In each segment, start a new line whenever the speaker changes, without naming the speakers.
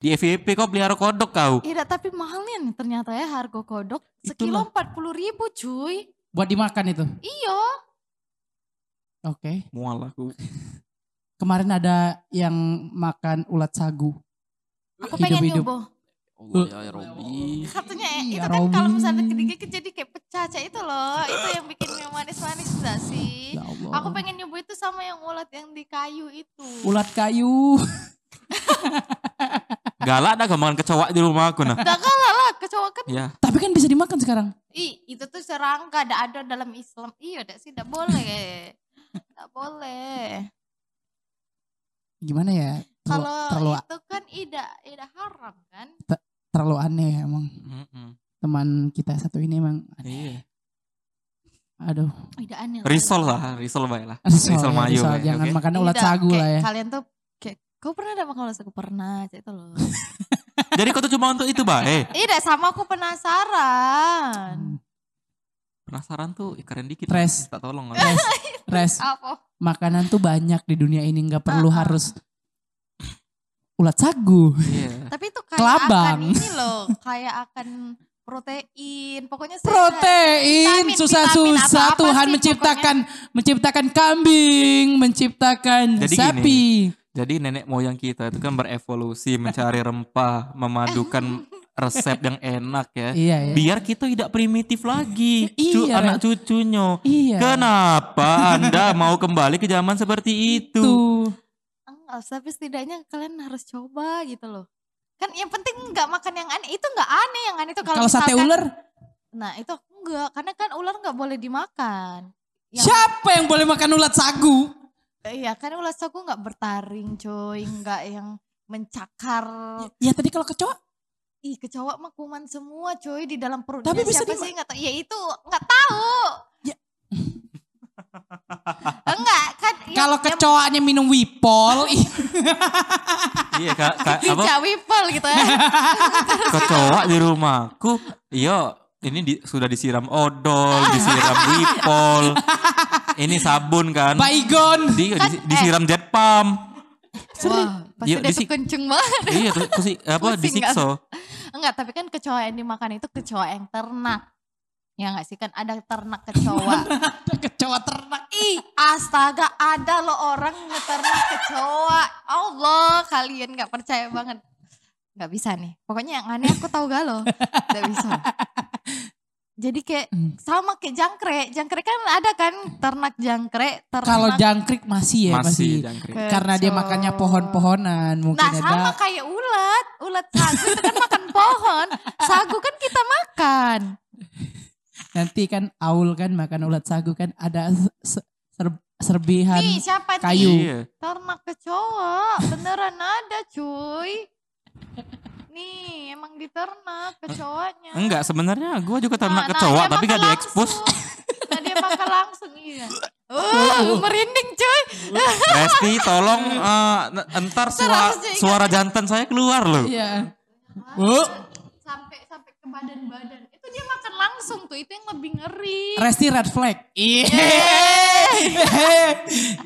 Di FYP kau pelihara kodok kau.
Iya, tapi mahalnya nih ternyata ya harga kodok.
Itu
Sekilo empat puluh ribu cuy.
Buat dimakan itu.
Iya.
Oke.
Mual aku.
Kemarin ada yang makan ulat sagu.
Aku pengen
Hidup-hidup.
nyoba.
Allah
Oh,
ya Robi.
Katanya
Iya,
itu kan kalau
Robi.
misalnya kedikit jadi kayak pecah Cak, itu loh. Itu yang bikin yang manis-manis enggak sih?
Ya Allah.
Aku pengen nyoba itu sama yang ulat yang di kayu itu.
ulat kayu.
Galak dah kau makan kecoa di rumah aku nah.
Udah kalah lah kecoa kan.
ya,
Tapi kan bisa dimakan sekarang.
Ih, itu tuh serangga enggak ada dalam Islam. Iya, enggak sih enggak boleh. Enggak boleh.
Gimana ya? Terlalu, terlalu,
Kalau itu kan ida ida haram kan?
terlalu aneh ya emang.
Mm-mm.
Teman kita satu ini emang.
Iya.
Aduh.
Ida aneh.
Risol lah, risol baik lah.
Risol,
Risol
ya,
mayo,
risol.
ya,
Jangan
oke.
makan ulat
Tidak,
sagu
Iya kayak
lah ya.
Kalian tuh kayak kau pernah ada makan ulat sagu pernah Cak, itu loh.
Jadi kau tuh cuma untuk itu bah. Eh,
Iya sama aku penasaran.
Hmm.
penasaran tuh eh, keren dikit.
Res.
Tak tolong. lah.
Res, res.
Apa?
Makanan tuh banyak di dunia ini. Nggak perlu
Ah, ah.
harus ulat sagu.
Iya.
Tapi itu kayak
Kelabang.
akan ini loh, kayak akan protein. Pokoknya sehat.
Protein
Vitamin, vitamin
susah-susah
apa-apa
Tuhan
sih
menciptakan menciptakan kambing, menciptakan
Jadi gini.
sapi.
Jadi nenek moyang kita itu kan berevolusi mencari rempah,
"Eh,
memadukan
hmm,
resep yang enak ya.
Iya ya.
Biar kita tidak primitif lagi. Cu-
Iya.
anak cucunya.
Iya.
Kenapa Anda mau kembali ke zaman seperti itu?
Tuh.
Enggak, tapi setidaknya kalian harus coba gitu loh. Kan yang penting nggak makan yang aneh. Itu nggak aneh yang aneh itu kalau
Kalau sate
misalkan-
ular,
Nah itu aku enggak, karena kan ular nggak boleh dimakan. Yang-
siapa yang boleh makan ulat sagu?
Iya kan ular sagu nggak bertaring coy, nggak yang mencakar.
Ya tadi kalau kecoa,
Ih kecoa mah kuman semua coy di dalam perutnya.
Tapi bisa
siapa
dima-
sih nggak tahu? Ya itu nggak tahu.
Ya.
Enggak kan? yang-
kalau
yang
kecoanya minum wipol, ih,
Iya, Kak. Ka- apa?
Dijak wipel gitu ya.
kecoa di rumahku iya ini di- sudah disiram odol disiram wipol ini sabun kan
baygon.
di, di- disiram jet pump
Wah, pasti
Iya,
dia
disik-
tuh kenceng banget.
iya terus terus i-
kan?
apa
Pusing
disiksa
Enggak, tapi kan kecoa yang dimakan itu kecoa yang ternak. Ya enggak sih kan ada ternak kecoa.
Ada kecoa ternak.
Ih, astaga ada loh orang ngeternak kecoa. Allah, kalian nggak percaya banget. Nggak bisa nih. Pokoknya yang aneh aku tahu gak loh. Nggak bisa. Jadi kayak
Hmm.
sama kayak jangkrik. Jangkrik kan ada kan ternak jangkrik, ternak
Kalau jangkrik masih ya
masih
masih.
jangkrik
kecoa.
Karena dia makannya pohon-pohonan, mungkin
Nah
ada.
sama kayak ulat, ulat sagu itu kan makan pohon, sagu kan kita makan.
Nanti kan aul kan makan ulat sagu kan ada se- ser- serbihan
Nih siapa
Kan. kayu.
nih?
iya
Ternak kecoa, beneran ada cuy. Nih emang diternak kecoanya.
enggak sebenarnya gua juga ternak
Nah, nah,
kecoa
dia
tapi
makan
gak diekspos
langsung. Nah dia makan langsung iya. Uh, merinding cuy.
Resti tolong eh, n- entar suara
harus diingat.
suara jantan saya keluar loh
Iya. Bu,
Sampai sampai ke badan-badan. Itu dia makan langsung tuh, itu yang lebih ngeri.
Resti red flag. Iya.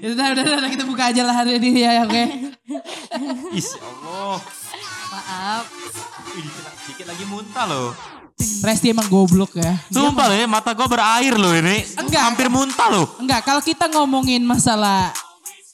udah, udah, udah, kita buka aja lah hari ini ya, oke.
Is ya Allah
Maaf.
Ih, dikit- dikit lagi muntah loh
Iya, Resti emang goblok ya.
Sumpah loh ya, mata gue berair loh ini.
Enggak.
Hampir muntah loh.
Enggak, kalau kita ngomongin masalah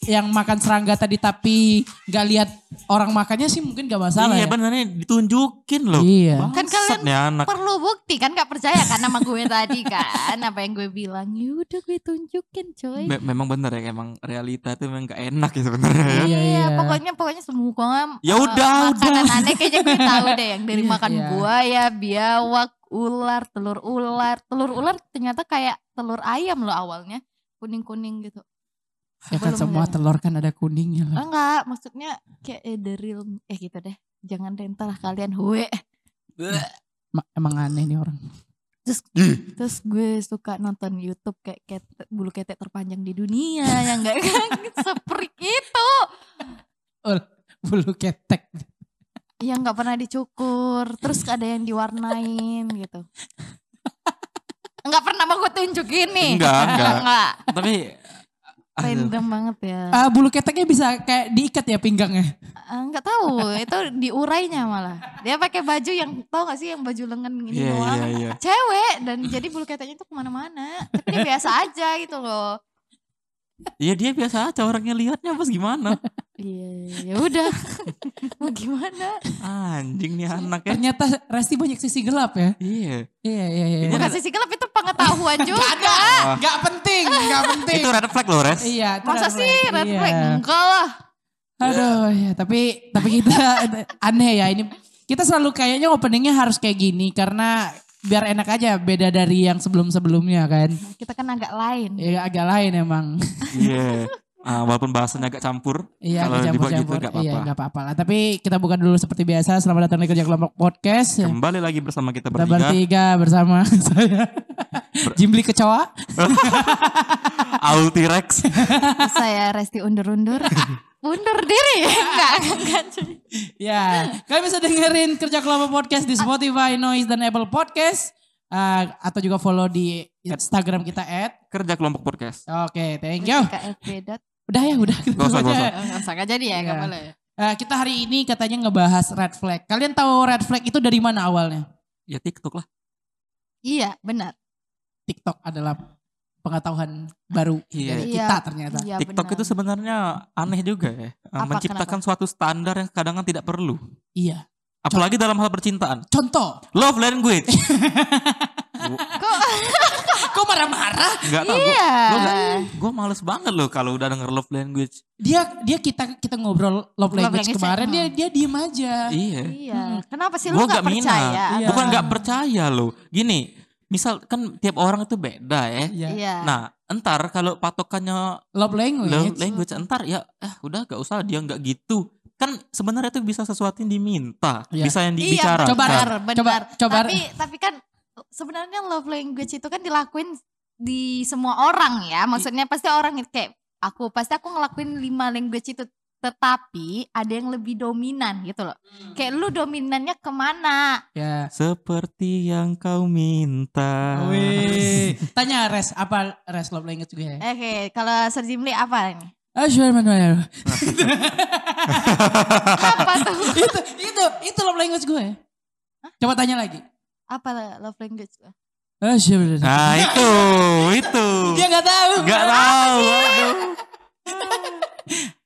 yang makan serangga tadi tapi nggak lihat orang makannya sih mungkin gak masalah
iya
ya.
bener nih, ditunjukin loh.
Iya.
Kan
Bangsat
kalian
nih anak.
perlu bukti kan gak percaya kan sama gue tadi kan apa yang gue bilang yaudah gue tunjukin coy
Me- memang bener ya, emang realita itu memang gak enak ya sebenarnya ya.
Iya, iya.
pokoknya pokoknya semua
Ya
eh,
udah,
makanan
udah.
aneh kayaknya gue tahu deh yang dari
Iya,
makan
iya.
buaya biawak ular telur ular telur ular ternyata kayak telur ayam loh awalnya kuning kuning gitu
Ya kan
Belum
semua
lihat.
telur kan ada kuningnya lah.
enggak maksudnya kayak eh, the real eh gitu deh jangan rental lah kalian hue
Iya. Ma- Emang aneh nih orang.
terus terus gue suka nonton YouTube kayak ketek, bulu ketek terpanjang di dunia yang enggak kan? seprik itu
Bulu ketek.
yang nggak pernah dicukur terus ada yang diwarnain gitu nggak pernah mau gue tunjukin nih
Enggak, enggak.
enggak
Tapi Aduh.
Random banget ya.
Eh, bulu keteknya bisa kayak diikat ya pinggangnya.
Eh, Nggak tahu, itu diurainya malah. Dia pakai baju yang tau gak sih yang baju lengan gini
Iya,
doang.
iya, iya.
Cewek dan jadi bulu keteknya itu kemana-mana. Tapi dia biasa aja gitu loh.
Iya dia biasa aja orangnya lihatnya pas gimana.
Iya, ya udah. Mau gimana?
Anjing nih anaknya.
Ternyata Resti banyak sisi gelap ya.
Iya.
Iya iya iya.
Ini-
Bukan sisi gelap itu pengetahuan juga.
Wah.
Gak penting, gak penting.
Itu red flag loh Res.
Iya. itu
Masa
red
sih
flag,
red
iya.
flag? Enggak lah.
Aduh, ya tapi tapi kita aneh ya ini. Kita selalu kayaknya openingnya harus kayak gini karena biar enak aja beda dari yang sebelum-sebelumnya kan.
Kita kan agak lain.
Ya agak lain emang.
Iya. Ah, walaupun bahasanya agak campur.
Iya,
kalau
agak
dibuat gitu
campur-campur.
gak
Iya,
apa-apa.
gak apa-apa lah. Tapi kita buka dulu seperti biasa. Selamat datang di kerja kelompok podcast. Ya,
Kembali lagi bersama kita
Kita
bertiga.
bertiga bersama saya. Jimli kecoa.
Auti Rex.
Saya ya, Resti undur-undur. Undur diri. Enggak, enggak. cuy.
Ya, kalian bisa dengerin kerja kelompok podcast di Spotify, Noise dan Apple Podcast. Eh, atau juga follow di Instagram kita at.
Kerja kelompok podcast.
Oke, thank you.
KFB dot.
Udah ya, udah.
Gak usah, gak usah.
Enggak usah, enggak jadi ya, enggak
Iya.
boleh.
Eh, kita hari ini katanya ngebahas red flag. Kalian tahu red flag itu dari mana awalnya?
Ya TikTok lah.
Iya, benar.
TikTok adalah pengetahuan baru
Iya.
dari
Iya.
kita ternyata.
Iya,
TikTok
benar.
itu sebenarnya aneh juga ya. Ah,
Apa,
Menciptakan suatu standar yang kadang kan tidak perlu.
Iya.
Apalagi dalam hal percintaan.
Contoh,
Love language.
kok marah-marah?
Gak tau. gua-
Iya.
Gue gue males banget loh kalau udah denger love language.
Dia dia kita kita ngobrol love language
language,
kemarin
ya.
dia dia diem aja.
Iya.
Iya.
Hmm.
Kenapa sih lu
Gue
enggak
gak
percaya?
minat. kan-
Iya.
Bukan gak percaya loh. Gini, misal kan tiap orang itu beda ya.
Iya.
Iya. Oh,
Nah, entar kalau patokannya
Love language.
love language entar ya eh udah gak usah dia nggak gitu. Kan sebenarnya itu bisa sesuatu yang diminta,
Iya.
bisa yang
Iya,
dibicarakan.
Coba,
benar, benar.
Coba- coba.
Tapi tapi kan sebenarnya love language itu kan dilakuin di semua orang ya. Maksudnya pasti orang itu kayak aku pasti aku ngelakuin lima language itu tetapi ada yang lebih dominan gitu loh. Kayak lu dominannya kemana?
Ya.
Seperti yang kau minta.
Wih. Tanya Res apa Res love language gue?
Oke, kalau Serjimli apa ini?
Ah, sure, man, man.
Apa tuh?
itu itu itu love language gue. Coba tanya lagi.
Apa love language lu?
Ah, sure, man, man.
Nah itu, itu.
Dia nggak tahu.
Gak tahu. Aduh.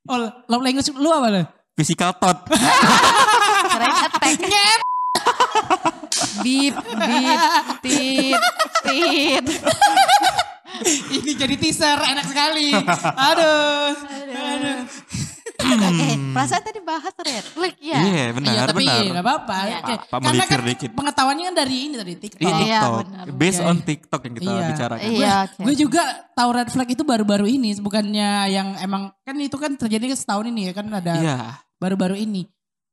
Oh, love language lu apa lu?
Physical thought.
Keren attack. Beep, beep, tit, tit.
Ini jadi teaser enak sekali. Aduh. Aduh.
Eh, perasaan tadi bahas red flag ya?
Iya benar,
Iya, tapi
benar.
nggak apa-apa.
Iya.
Oke.
Apa-apa,
Karena
melipir
kan
dikit.
pengetahuannya kan dari ini dari TikTok.
Ini
Iya,
TikTok,
benar.
based
Iya,
on
iya.
TikTok yang kita
Iya.
bicarakan.
Iya, oke.
Gue juga tahu red flag itu baru-baru ini, bukannya yang emang kan itu kan terjadi setahun ini ya kan ada
Iya.
baru-baru ini.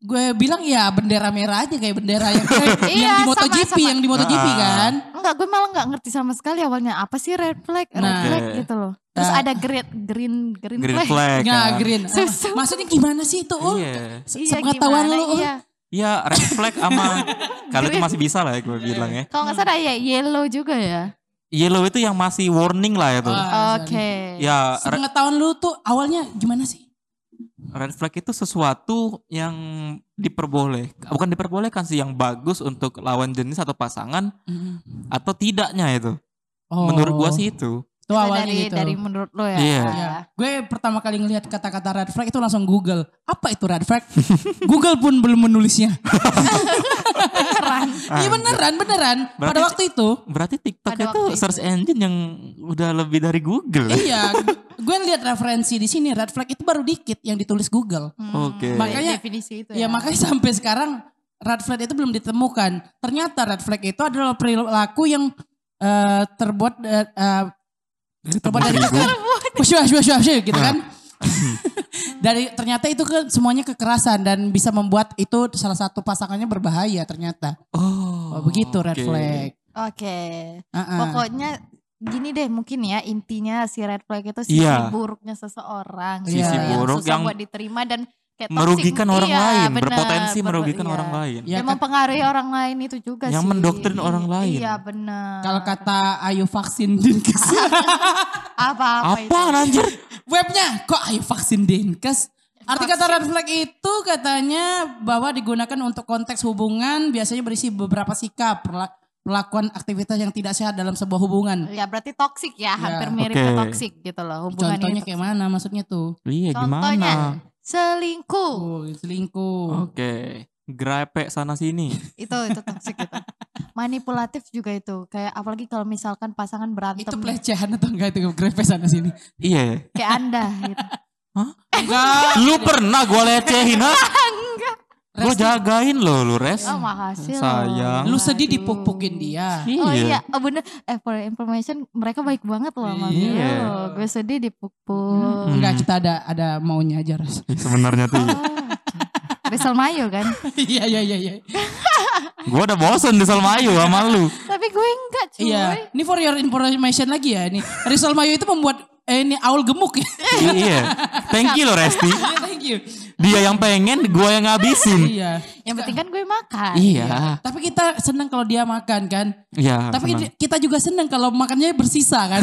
Gue bilang ya bendera merah aja kayak bendera yang, yang di
Iya,
MotoGP,
sama-sama.
yang di MotoGP
Ah.
kan.
Enggak, gue malah nggak ngerti sama sekali awalnya apa sih red flag, red
Nah.
flag gitu low. Terus
Nah.
ada green, green, green,
Green
flag.
flag.
Nggak
kan.
Iya, green.
Susu.
Maksudnya gimana sih itu Ul?
Iya.
Se-
Iya,
Sepengetahuan
gimana?
lu Ul.
Iya.
Iya, red flag sama kalau itu masih bisa lah ya
Iya.
gue bilang ya.
Kalau nggak salah ya yellow juga ya.
Yellow itu yang masih warning lah itu.
Ah,
Oke.
sorry.
ya re-
Sepengetahuan lu tuh awalnya gimana sih?
red flag itu sesuatu yang diperboleh, bukan diperbolehkan sih yang bagus untuk lawan jenis atau pasangan atau tidaknya itu.
Mm-hmm. Oh.
Menurut gua sih itu.
Itu
Iya,
awalnya
dari,
gitu.
dari menurut lo ya.
Iya.
Ya, gue pertama kali ngelihat kata-kata red flag itu langsung Google. Apa itu red flag? Google pun belum menulisnya. Iya beneran, beneran.
Ah,
Pada
Berarti-
waktu itu,
Berarti TikTok
Pada
itu
waktu itu.
search engine yang udah lebih dari Google.
iya, gue ngeliat referensi di sini red flag itu baru dikit yang ditulis Google.
Oke.
Dari
Makanya-
definisi itu
Ya makanya sampai sekarang red flag itu belum ditemukan. Ternyata red flag itu adalah perilaku yang eh, terbuat eh, eh, terbuat dari Wushu, wushu, wushu, wushu, gitu kan. dari ternyata itu kan semuanya kekerasan dan bisa membuat itu salah satu pasangannya berbahaya ternyata.
Oh,
Oh, begitu red
oke.
flag.
Oke.
Ah.
Uh-uh.
Pokoknya gini deh mungkin ya intinya si red flag itu sisi
Iya.
buruknya seseorang
Sisi
gitu ya,
buruk
susah
yang-
buat diterima dan kayak toxic.
merugikan orang
Iya,
lain,
bener,
berpotensi
berpo-
merugikan
iya.
orang lain.
Ya,
Dan mempengaruhi orang lain itu juga
Yang
sih.
mendoktrin orang lain.
Iya benar.
Kalau kan kata Ayo Vaksin Dinkes.
apa-apa itu.
Apaan anjir?
Webnya kok Ayo Vaksin Dinkes. Arti kata red flag itu katanya bahwa digunakan untuk konteks hubungan biasanya berisi beberapa sikap, perla- perlakuan aktivitas yang tidak sehat dalam sebuah hubungan.
Ya berarti toksik ya, hampir mirip
Oke.
ke toksik gitu loh hubungan
Iya. Contohnya
itu.
kayak mana maksudnya tuh?
Iya
Contohnya
gimana?
selingkuh.
Oh, selingkuh.
Oke, grepe sana sini.
Itu itu toksik gitu. Manipulatif juga itu. Kayak apalagi kalau misalkan pasangan berantem
Itu pelecehan atau enggak itu grepe sana sini?
Iya.
kayak Anda gitu.
Enggak.
Lu pernah gue lecehin ah? Gue jagain lo, lu res.
Oh, makasih loh.
Sayang.
Lu sedih
Aduh.
dipuk-pukin dia.
Oh iya, oh, bener. Eh for information mereka baik banget loh sama gue
Iya. Hmm.
loh. Gue sedih dipuk-puk.
Enggak, kita ada ada maunya aja, Ras.
Sebenarnya tuh, iya.
Oh. Besel Mayo kan.
Iya, iya, iya, iya.
gue udah bosen di Salmayu sama lu.
Tapi gue enggak cuy.
Iya, ini for your information lagi ya. Ini Rizal Mayu itu membuat eh, ini Aul gemuk ya.
iya. Thank you lo Resti.
Iya, Thank you.
Dia yang pengen, gue yang ngabisin.
Iya.
Yang penting kan gue makan.
iya.
Tapi kita senang kalau dia makan kan.
Iya.
Tapi
senang.
di- kita juga senang kalau makannya bersisa kan.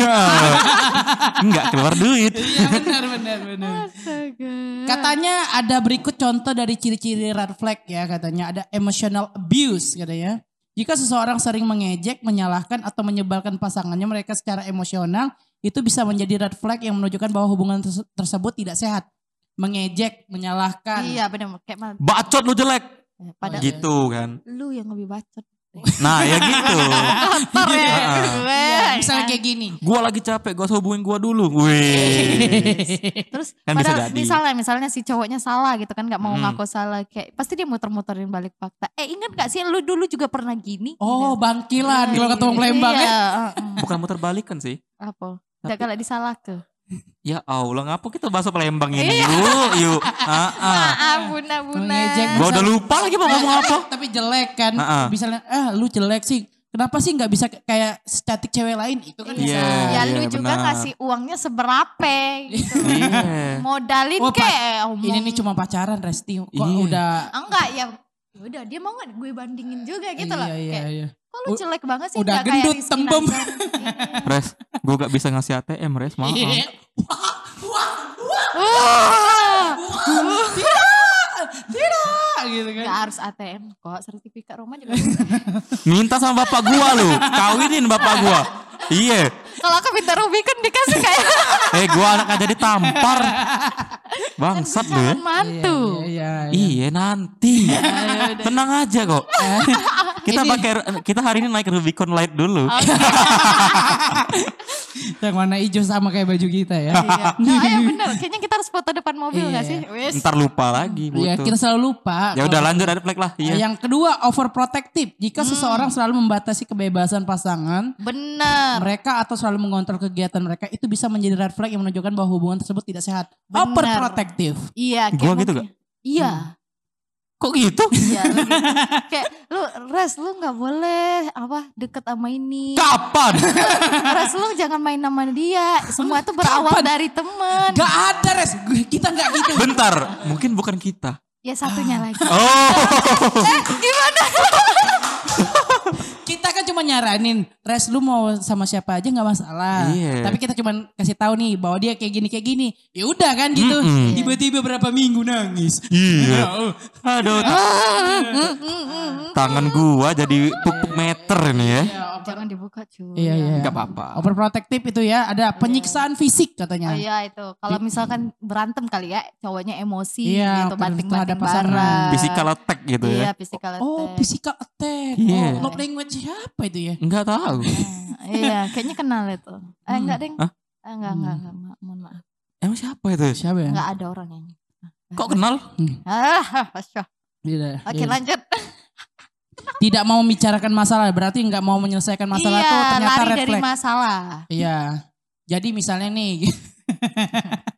Enggak keluar duit.
Iya benar benar benar.
Astaga.
Katanya ada berikut contoh dari ciri-ciri red flag ya katanya ada emotional abuse katanya. Jika seseorang sering mengejek, menyalahkan atau menyebalkan pasangannya mereka secara emosional, itu bisa menjadi red flag yang menunjukkan bahwa hubungan terse- tersebut tidak sehat. Mengejek, menyalahkan.
Iya bener kayak mal-
Bacot lu jelek.
pada
Iya.
Gitu kan.
lu yang lebih bacot.
Nah ya gitu.
Kotor ya
Iya.
gue.
Ah, Iya,
Nah,
misalnya kayak gini.
Gua lagi capek, gua harus hubungin gua dulu. Wih.
Terus
Kan bisa
padahal
jadi.
misalnya misalnya si cowoknya salah gitu kan nggak mau
Hmm.
ngaku salah kayak pasti dia muter-muterin balik fakta. Eh ingat gak sih lu dulu juga pernah gini?
Oh, bangkilan kalau ketemu Palembang
iya,
ya.
heeh.
Bukan muter balikan sih.
Apa?
Tapi-
Jangan disalah ke.
Ya Allah, ngapa kita bahas Palembang ini?
Iya.
Yuk, yuk. Ah, ah.
Maaf bunda
Oh,
bunda.
Mengejek.
Gua udah lupa lagi mau ngomong apa.
Eh, Tapi jelek kan.
Ha-ha.
Misalnya, ah lu jelek sih. Kenapa sih nggak bisa kayak secantik cewek lain? Itu
Iya.
kan bisa.
Ya lu
iya,
juga
benar.
ngasih uangnya seberapa gitu.
Iya.
Modalin
Oh,
ke.
Pak,
omong.
Ini nih cuma pacaran Resti. Kok
Iya.
udah.
enggak ya udah dia mau nggak gue bandingin juga gitu loh
Iya, iya,
kayak
iya.
kok lu
U-
jelek banget sih
udah
nggak kayak
gendut,
Rizky
tembem.
Nazar."
Res, gua gak bisa ngasih ATM, Res. Maaf.
Iya. Wah, wah, wah,
Wah,
wah. Tidak, tidak gitu kan.
nggak harus ATM kok sertifikat rumah juga bisa.
Minta sama bapak gua lu. Kawinin bapak gua. Iya.
kalau aku minta Rubicon dikasih kayak
Eh, gua anak aja ditampar. Bangsat lu ya.
calon mantu
Iya, iya, iya. Ya
Iya nanti. Tenang aja kok. kita pakai kita hari ini naik Rubicon Light dulu.
Oh, Yang warna hijau sama kayak baju kita ya.
Iya. Nah, ayo bener kayaknya kita harus foto depan mobil nggak sih Wis.
Ntar lupa lagi
Iya,
butuh.
kita selalu lupa.
Ya
kalau-
udah lanjut ada flag lah. Iya.
Yang kedua, overprotective. Jika
Hmm.
seseorang selalu membatasi kebebasan pasangan,
bener
mereka atau selalu mengontrol kegiatan mereka itu bisa menjadi red flag yang menunjukkan bahwa hubungan tersebut tidak sehat.
Benar.
Overprotective.
iya kayak
Gua gitu
mungkin-
nggak?
iya
Kok gitu?
iya
Hmm.
lu gitu. kayak lu res lu nggak boleh apa deket sama ini
Kapan?
Res lu jangan main nama dia. Semua itu berawal dari temen.
Gak ada res, Gue- kita gak gitu.
Bentar, mungkin bukan kita.
Ya satunya lagi.
Oh,
Kita kan cuma nyaranin, res lu mau sama siapa aja nggak masalah.
Iya.
Tapi kita cuma kasih tahu nih bahwa dia kayak gini kayak gini. Ya udah kan gitu.
Mm-mm.
Tiba-tiba berapa minggu nangis.
iya.
Oh,
Aduh,
Hmm,
tangan gua jadi pupuk meter ini ya.
ya, over-
Jangan dibuka cuy.
Iya, iya.
Gak apa-apa.
Overprotective itu ya, ada penyiksaan fisik katanya.
Oh iya itu. Kalau misalkan berantem kali ya, cowoknya emosi
Iya,
gitu
terus terhadap
banting-banting
pasangan.
bara.
Physical attack gitu
Iya,
ya.
physical
Oh,
attack.
physical attack.
Iya.
Oh, love language siapa itu ya?
Enggak tahu.
Nah, iya, kayaknya kenal itu. Eh
Hmm.
enggak, Deng.
Hah?
Eh, enggak, enggak, enggak, Ma- mohon maaf.
Emang siapa itu?
Siapa ya?
Enggak ada orang yang.
Kok kenal?
Ah, masya.
Tidak.
Oke, lanjut.
Tidak mau membicarakan masalah berarti nggak mau menyelesaikan masalah
iya,
tuh ternyata
lari
red
dari
flag.
masalah.
Iya. Jadi misalnya nih,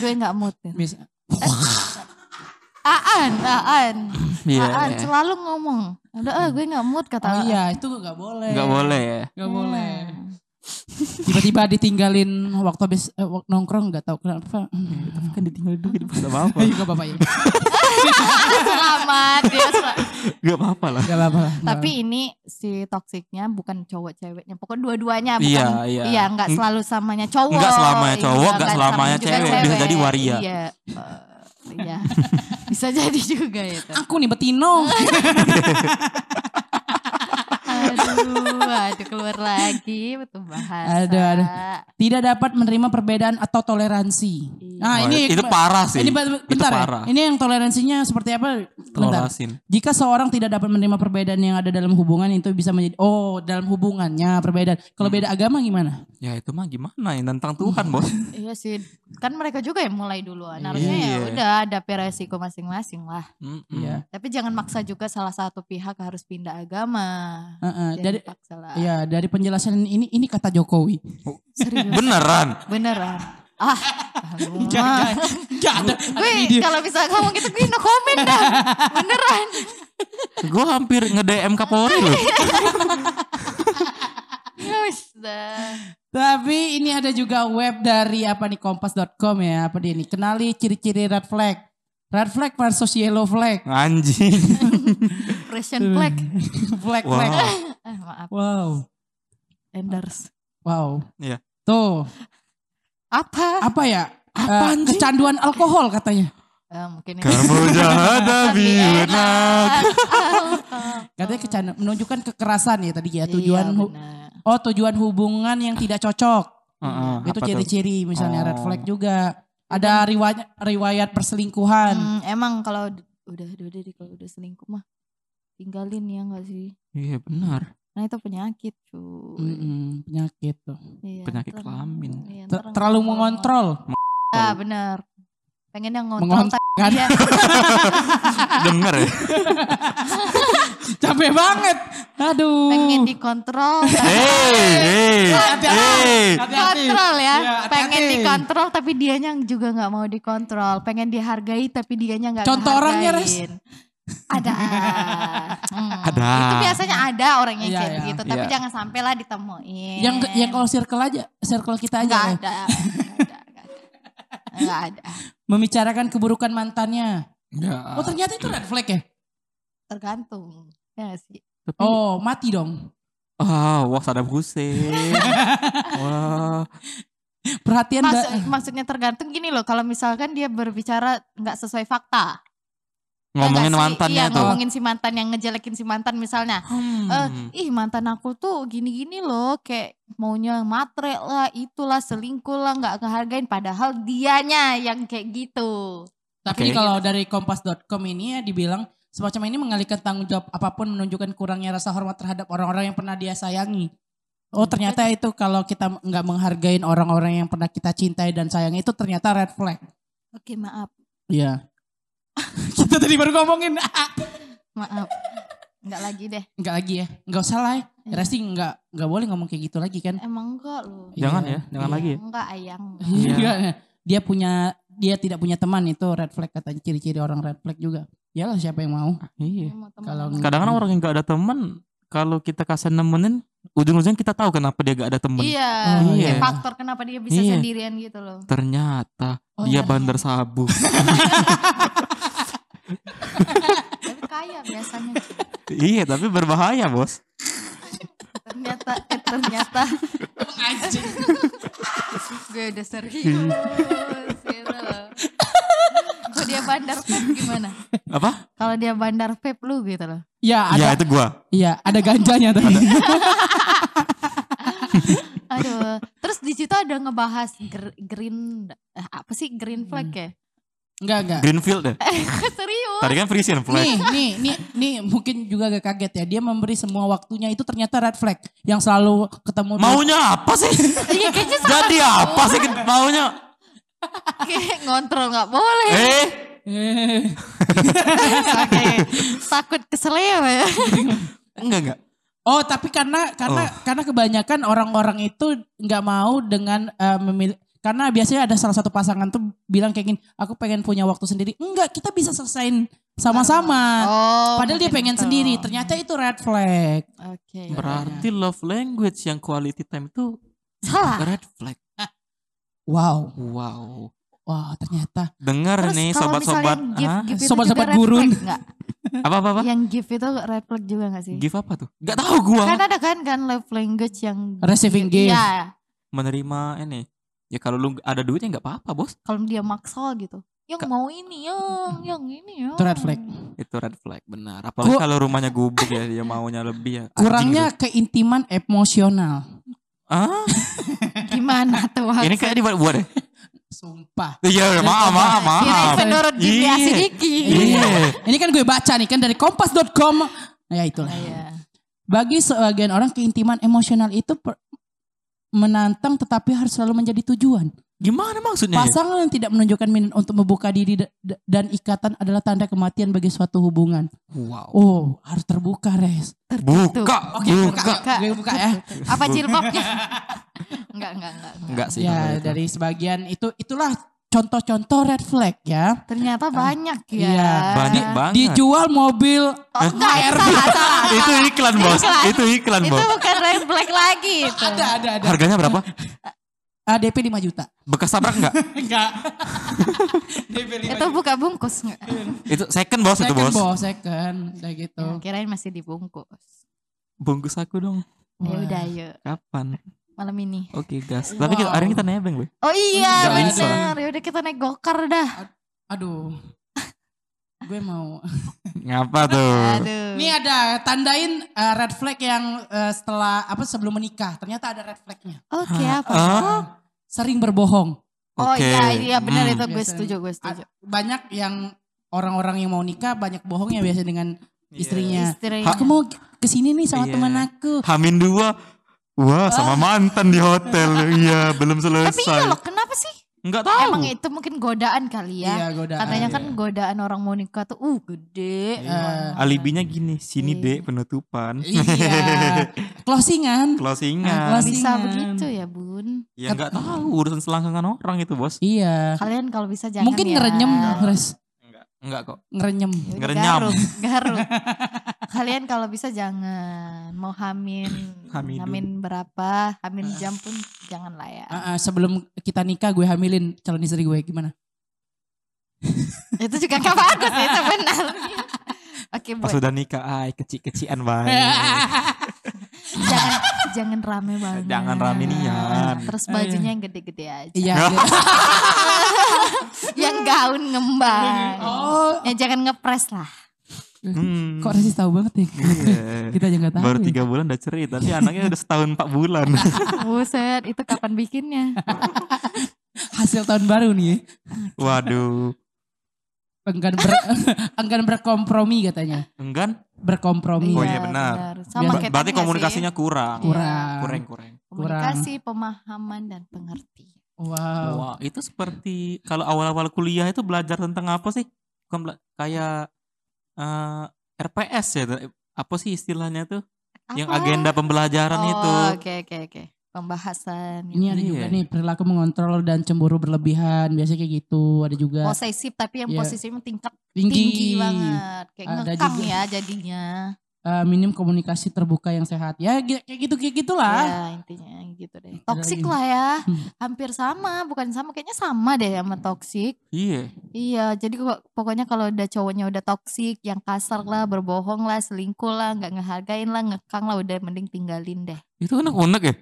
Gue enggak mood. ya.
mis-
Aan, Aan.
Iya.
Aan selalu ngomong. Udah ah gue gak mood kata
oh
Aan.
iya itu nggak boleh.
Hmm.
Enggak boleh ya.
Nggak boleh. tiba-tiba ditinggalin waktu habis eh, wak- nongkrong nggak tahu kenapa Hmm,
Tapi kan ditinggal dulu gitu. Gak apa-apa.
nggak apa-apa ya
Selamat dia. sel-
Gak apa-apa lah.
nggak apa-apa lah, nggak
Tapi ini si toksiknya bukan cowok ceweknya. Pokoknya dua-duanya bukan.
Iya, iya.
nggak
Ng-
selalu samanya cowok.
nggak selamanya
Iya,
cowok, nggak
sama
selamanya
juga
cewek. Bisa jadi waria.
Iya. eh, iya. Bisa jadi juga gitu. itu.
aku nih betino
Aduh, aduh keluar lagi betul bahasa.
Aduh, aduh. tidak dapat menerima perbedaan atau toleransi
Iya.
nah
Wah,
ini
itu parah sih.
ini bentar
itu
ya.
parah.
ini yang toleransinya seperti apa bentar
Tolerasin.
Jika seorang tidak dapat menerima perbedaan yang ada dalam hubungan itu bisa menjadi oh dalam hubungannya perbedaan. Kalau beda agama gimana?
Ya itu mah gimana ya tentang Tuhan bos.
Iya sih, kan mereka juga yang mulai duluan. Harusnya
Iya.
ya udah adapi resiko masing-masing lah.
Mm-mm.
Iya.
Tapi jangan maksa juga salah satu pihak harus pindah agama.
Heeh,
Jangan
Nah, dari
dipaksa lah.
ya dari penjelasan ini ini kata Jokowi.
Serius.
Beneran.
Beneran. Ah, bangun.
Jangan, jangan ada, ada
Gue
video.
kalau bisa ngomong gitu gue no comment dah. Beneran.
Gue hampir nge-DM Kapolri loh.
Ya wis dah.
Tapi ini ada juga web dari apa nih kompas.com ya apa dia nih kenali ciri-ciri red flag. Red flag versus yellow flag.
Anjing.
Russian flag.
flag flag.
Wow.
Eh, maaf,
Wow.
Enders.
Wow.
Iya.
Tuh,
Apa?
apa ya?
Apa,
Eh,
anjing?
kecanduan alkohol katanya.
Eh, mungkin ini.
Kamu jahat tapi
Tapi
enak.
Katanya kecanduan menunjukkan kekerasan ya tadi ya
Iya,
tujuan hu-
benar.
Oh tujuan hubungan yang tidak cocok.
Heeh,
itu
apa tuh?
ciri-ciri misalnya
Oh.
red flag juga. Ada riwayat riwayat perselingkuhan.
Hmm, emang kalau d- udah udah deh kalau udah selingkuh mah tinggalin ya enggak sih?
Iya benar.
Nah itu penyakit
Hmm.
cuy.
Mm-mm, penyakit tuh.
Iya,
Penyakit
ntar-
kelamin.
iya,
Ter-
ntar
terlalu
ngontrol.
mengontrol.
Ah benar. Pengen yang ngontrol
Mengontrol
tapi
kan.
dia
Dengar ya.
Capek banget. Aduh.
pengen dikontrol. tapi-
Hey, hey, hey.
Eh, Hati-hati.
kontrol ya.
Iya, hati-hati.
pengen dikontrol tapi dianya juga nggak mau dikontrol. Pengen dihargai tapi dianya nggak
Contoh orangnya, Res.
ngehargain. Ada. Hmm.
Ada.
Itu biasanya ada orangnya
Iya,
kayak
iya.
begitu. Tapi
Iya.
jangan sampailah ditemuin.
Yang ke- yang kalau circle aja, circle kita
Nggak
aja. ya.
ada. Nggak ada. nggak ada. Nggak ada.
Membicarakan keburukan mantannya.
Ya.
Oh ternyata itu red flag ya?
Tergantung. Ya nggak sih.
Tapi-
Oh mati dong.
Ah, wah Saddam Hussein. wah.
Perhatian
Maksud-
ba-
maksudnya tergantung gini loh. Kalau misalkan dia berbicara nggak sesuai fakta. Ya nggak
Ngomongin
sih?
mantannya
Iya,
tuh.
ngomongin si mantan yang ngejelekin si mantan misalnya.
Hmm.
Eh, ih mantan aku tuh gini-gini loh kayak maunya matre lah itulah selingkuh lah nggak ngehargain padahal dianya yang kayak gitu
Tapi
Oke.
kalau dari kompas.com ini ya dibilang semacam ini mengalihkan tanggung jawab apapun menunjukkan kurangnya rasa hormat terhadap orang-orang yang pernah dia sayangi. Oh ternyata itu kalau kita nggak menghargain orang-orang yang pernah kita cintai dan sayangi itu ternyata red flag.
oke maaf
Iya. kita tadi baru ngomongin. Ah,
maaf nggak lagi deh
Nggak lagi ya. Nggak usah lah. ya.
Iya.
Resti nggak nggak boleh ngomong kayak gitu lagi kan.
emang enggak loh
jangan
Iya.
ya, jangan lagi ya.
enggak ayang
Iya.
Iya. dia punya dia tidak punya teman itu red flag katanya ciri-ciri orang red flag juga. Iyalah siapa yang mau.
Iya.
Emang temen
Kalau
emang.
Kadang kan orang yang gak ada teman, kalau kita kasih nemenin, ujung-ujungnya kita tahu kenapa dia gak ada teman.
iya
Oh,
iya
iya.
faktor kenapa dia bisa
Iya.
sendirian gitu loh
Ternyata
Oh,
iya.
dia
ternyata.
bandar sabu.
tapi kaya biasanya cuy.
iya, tapi berbahaya, Bos.
ternyata eh, ternyata gue udah serius gitu loh kok dia bandar vape gimana
Apa?
kalau dia bandar vape lu gitu loh
Ya
Iya,
ada
itu gua.
iya ada ganjanya tadi.
aduh terus di situ ada ngebahas gr- green eh, apa sih green flag ya
Enggak enggak.
Greenfield deh.
Eh, serius
Tadi kan Frisian flag.
Nih, nih, nih, nih mungkin juga agak kaget ya. Dia memberi semua waktunya itu ternyata red flag yang selalu ketemu di-
Maunya apa sih?
iya kayaknya sama
Jadi apa sih maunya?
kayak ngontrol nggak boleh
Eh,
Eh,
Oke. takut keseleo ya
enggak enggak.
Iya,
Oh, tapi karena karena
Oh.
karena kebanyakan orang-orang itu nggak mau dengan eh, memilih karena biasanya ada salah satu pasangan tuh bilang kayak gini, aku pengen punya waktu sendiri. Enggak, kita bisa selesain sama-sama.
oh
Padahal dia
mungkin
pengen
itu.
sendiri. Ternyata itu red flag.
oke
Berarti love language yang quality time itu
iya. Salah.
Red flag.
Wow,
Wow.
wow ternyata.
Dengar
Terus
nih
kalau
sobat-sobat.
misalnya gift,
Hah?
gift itu juga
Sobat-sobat
red
gurun.
flag nggak?
Apa apa apa?
Yang gift itu red flag juga gak sih?
Give apa tuh? Gak tahu gua.
Kan ada kan kan love language yang
Receiving gift.
Iya,
Menerima ini. Ya kalau lu ada duitnya nggak apa-apa bos.
kalau dia maksa gitu. Yang
Ka-
mau ini, yang yang ini, yang.
Itu red flag.
Itu red flag benar. Apalagi
Gua-
kalau rumahnya gubuk ya dia maunya lebih ya. Anjing
Kurangnya keintiman emosional.
lu. Ah,
Gimana tuh?
ini kayak dibuat buat deh.
Sumpah.
Iya, maaf, maaf,
Kirain
maaf.
menurut Jimmy
Iya.
Asidiki.
Iya.
Ini kan gue baca nih kan dari kompas.com. Nah, ya itulah.
Iya.
Bagi sebagian orang keintiman emosional itu per- menantang tetapi harus selalu menjadi tujuan.
Gimana maksudnya? ya?
Pasangan yang tidak menunjukkan minat untuk membuka diri da- da- dan ikatan adalah tanda kematian bagi suatu hubungan.
Wow.
Oh, harus terbuka, Res.
gitu.
Buka,
Oh,
Oke, buka.
buka.
Buka.
Gue buka ya.
Apa jilbabnya? enggak, enggak, enggak. enggak.
Enggak sih. kalau
Ya,
itu.
dari sebagian itu itulah contoh-contoh red flag ya.
Ternyata banyak ya.
Iya,
banyak banget.
Dijual mobil
Oh, enggak, itu salah, salah.
itu kan iklan bos, itu iklan
Itu
bos.
bukan red flag lagi itu.
ada ada ada.
Harganya berapa?
Ah, DP 5 juta.
Bekas tabrak enggak?
Enggak. DP
Itu buka bungkus enggak?
itu second bos itu
second
bos.
bos, second kayak gitu.
Ya, kirain masih dibungkus.
Bungkus aku dong.
Ya
Wah.
udah yuk,
Kapan?
malam ini.
Oke gas. Tapi
Wow.
kita, hari ini kita nebeng loh.
Oh iya
Enggak bisa.
benar. Ya udah kita naik gokar dah.
Aduh. Gue mau.
Eh.
Ngapa tuh?
Aduh.
Ini ada tandain eh, red flag yang eh, setelah apa sebelum menikah. Ternyata ada red flagnya.
Oke apa?
Ah,
Sering berbohong.
Oh
Oke.
iya iya
Hmm.
benar itu gue
Biasanya.
setuju gue setuju.
A- banyak yang orang-orang yang mau nikah banyak bohong ya biasa dengan istrinya.
Istrinya.
Aku mau kesini nih sama
Iya.
teman aku.
Hamin dua. Wah, sama mantan di hotel. Iya, belum
Ah. Tapi iya
selesai.
loh kenapa sih?
Enggak tahu.
Emang itu mungkin godaan kali ya.
Iya, godaan.
Katanya kan godaan orang mau nikah tuh uh gede.
Iya.
Wah.
Alibinya gini, sini
Iya.
dek penutupan.
Iya. Closingan.
Closingan.
Closing.
Bisa
Pasingan.
begitu ya bun.
Ya enggak tahu urusan selangkangan orang itu, Bos.
Iya.
Kalian kalau bisa jangan
Mungkin
ya.
ngerenyem, Res.
Enggak, enggak kok.
Ngerenyem.
Ya udah,
Ngerenyam.
Garuk, garuk. Kalian kalau bisa jangan mau hamin,
Hamidu.
hamin berapa, hamin
Ah.
jam pun jangan lah ya.
Ah, ah, sebelum kita nikah gue hamilin calon istri gue gimana?
Itu juga gak bagus ya sebenarnya. Oke,
Pas
buat
sudah nikah, ay kecil-kecilan banget.
jangan jangan rame banget.
Jangan rame ya. Ah, nian.
Terus bajunya yang gede-gede aja.
Iya. iya.
Yang gaun ngembang.
oh,
Ya jangan ngepres lah.
Hmm.
kok Resis tahu banget ya?
Iya.
Kita aja nggak tahu.
Baru
ya.
tiga bulan udah cerita, tapi anaknya udah setahun empat bulan.
Buset, itu kapan bikinnya?
Hasil tahun baru nih.
Waduh,
Enggan ber- enggan berkompromi katanya.
enggan?
Berkompromi.
Oh iya, benar.
Sama
Ba-
kayak
berarti
tadi nggak sih?
komunikasinya kurang.
Kurang.
Kurang, kurang.
Komunikasi, pemahaman dan pengertian.
Wow.
Wah, itu seperti kalau awal-awal kuliah itu belajar tentang apa sih? Bukan bela- kayak eh, RPS ya, apa sih istilahnya tuh? Yang
Apa?
agenda pembelajaran
oh,
itu.
Oke oke oke. Pembahasan. gitu.
Ini ada juga
Iya.
nih perilaku mengontrol dan cemburu berlebihan. Biasanya kayak gitu. Ada juga
posesif tapi yang
Iya.
posesifnya tingkat Oh,
tinggi. Ah,
tinggi banget. Kayak
Ada
ngekang
juga.
ya jadinya.
Eh, minim komunikasi terbuka yang sehat. Ya gi- kayak gitu kayak gitulah.
Ya intinya gitu deh. Toksik
lagi.
lah ya.
Iya, Hmm.
Hampir sama, bukan sama kayaknya sama deh sama toksik.
Iya.
Iya, jadi kok- pokoknya kalau udah cowoknya udah toksik, yang kasar lah,
Hmm.
berbohong lah, selingkuh lah, nggak ngehargain lah, ngekang lah, udah mending tinggalin deh.
Itu unek-unek ya?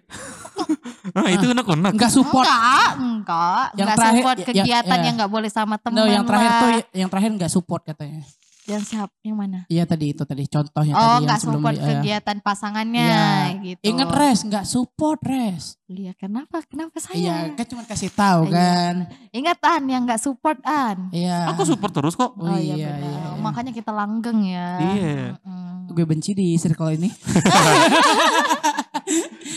Nah, itu unek-unek.
Enggak support.
Enggak, enggak,
Yang
enggak
terakhir-
support
ya- ya-
kegiatan
ya.
yang nggak boleh sama teman
No, yang terakhir
lah.
tuh ya. yang terakhir nggak support katanya.
yang siap yang mana?
Iya tadi itu tadi
Oh,
contohnya tadi yang
nggak
sebelum
support
eh,
kegiatan pasangannya
Iya.
gitu.
Ingat res, nggak support res.
Iya, kenapa? Kenapa saya?
Iya, kan cuma kasih tahu
Iya.
kan.
Ingat An yang nggak support An.
Iya.
Aku support terus kok.
Oh, iya,
benar.
iya, iya.
Makanya kita langgeng ya.
Iya.
Mm-mm.
Gue benci di circle ini.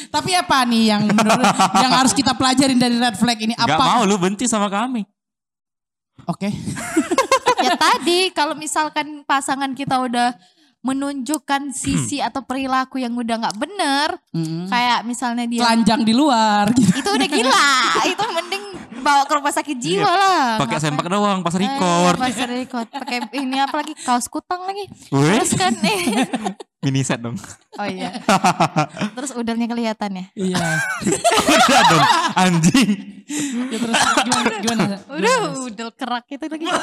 Tapi apa nih yang menurut yang harus kita pelajarin dari red flag ini
Gak
apa?
mau lu benci sama kami.
Oke.
ya tadi kalau misalkan pasangan kita udah menunjukkan sisi
Hmm.
atau perilaku yang udah nggak bener,
Mm-mm.
kayak misalnya dia
Telanjang di luar gitu.
itu udah gila, itu mending bawa ke rumah sakit jiwa lah.
Iya. Pakai
Ngapain-
sempak doang pas
Eh,
record.
pas record. Pakai ini apa lagi kaos kutang lagi.
Weh.
Terus kan eh
mini set dong.
Oh iya. Terus udarnya kelihatan ya.
Iya.
Udah Iya dong, anjing.
Ya terus gimana? gimana?
Udah, udah kerak itu lagi.